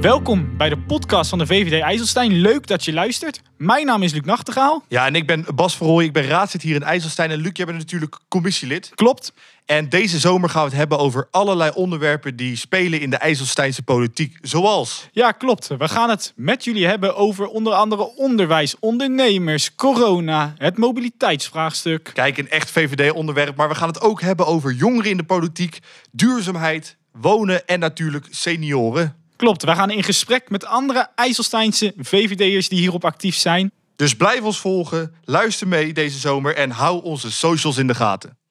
Welkom bij de podcast van de VVD IJsselstein. Leuk dat je luistert. Mijn naam is Luc Nachtegaal. Ja, en ik ben Bas Verhooy, ik ben raadslid hier in IJsselstein. En Luc, jij bent natuurlijk commissielid. Klopt. En deze zomer gaan we het hebben over allerlei onderwerpen die spelen in de IJsselsteinse politiek. Zoals, Ja, klopt. We gaan het met jullie hebben over onder andere onderwijs, ondernemers, corona, het mobiliteitsvraagstuk. kijk, een echt VVD-onderwerp. Maar we gaan het ook hebben over jongeren in de politiek, duurzaamheid, wonen en natuurlijk senioren. Klopt. We gaan in gesprek met andere IJsselsteinse VVD'ers die hierop actief zijn. Dus blijf ons volgen, luister mee deze zomer en hou onze socials in de gaten.